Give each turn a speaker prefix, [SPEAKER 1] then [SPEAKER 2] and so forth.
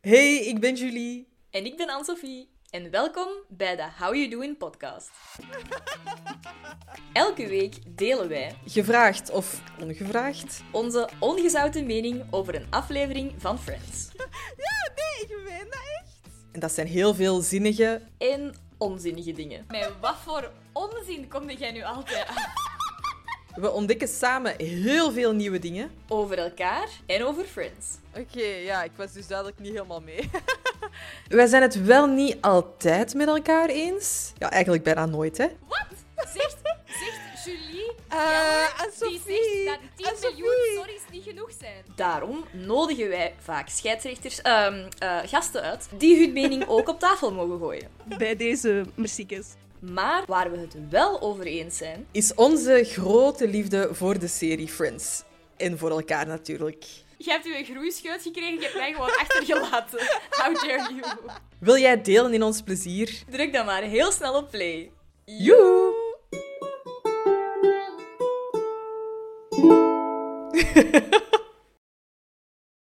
[SPEAKER 1] Hey, ik ben Julie.
[SPEAKER 2] En ik ben Anne-Sophie. En welkom bij de How You Doing podcast. Elke week delen wij
[SPEAKER 1] Gevraagd of ongevraagd?
[SPEAKER 2] onze ongezouten mening over een aflevering van Friends.
[SPEAKER 3] Nee, ik meen dat echt.
[SPEAKER 1] En dat zijn heel veel zinnige.
[SPEAKER 2] En onzinnige dingen.
[SPEAKER 3] Met wat voor onzin kom jij nu altijd aan?
[SPEAKER 1] We ontdekken samen heel veel nieuwe dingen.
[SPEAKER 2] Over elkaar en over Friends.
[SPEAKER 3] Oké, ja, ik was dus duidelijk niet helemaal mee.
[SPEAKER 1] Wij zijn het wel niet altijd met elkaar eens. Ja, eigenlijk bijna nooit, hè?
[SPEAKER 4] Zegt, zegt Julie,
[SPEAKER 3] Eh, en
[SPEAKER 4] die zegt
[SPEAKER 3] Sophie.
[SPEAKER 4] dat 10
[SPEAKER 3] en
[SPEAKER 4] miljoen
[SPEAKER 3] Sophie.
[SPEAKER 4] sorry's niet genoeg zijn.
[SPEAKER 2] Daarom nodigen wij vaak scheidsrechters, ehm, eh, gasten uit die hun mening ook op tafel mogen gooien.
[SPEAKER 5] bij deze muziekjes.
[SPEAKER 2] Maar waar we het wel over eens zijn,
[SPEAKER 1] Is onze grote liefde voor de serie Friends. En voor elkaar natuurlijk.
[SPEAKER 4] Je hebt je een groeischeut gekregen, je hebt mij gewoon achtergelaten. How dare you.
[SPEAKER 1] Wil jij delen in ons plezier?
[SPEAKER 2] druk dan maar heel snel op play.
[SPEAKER 1] Joe!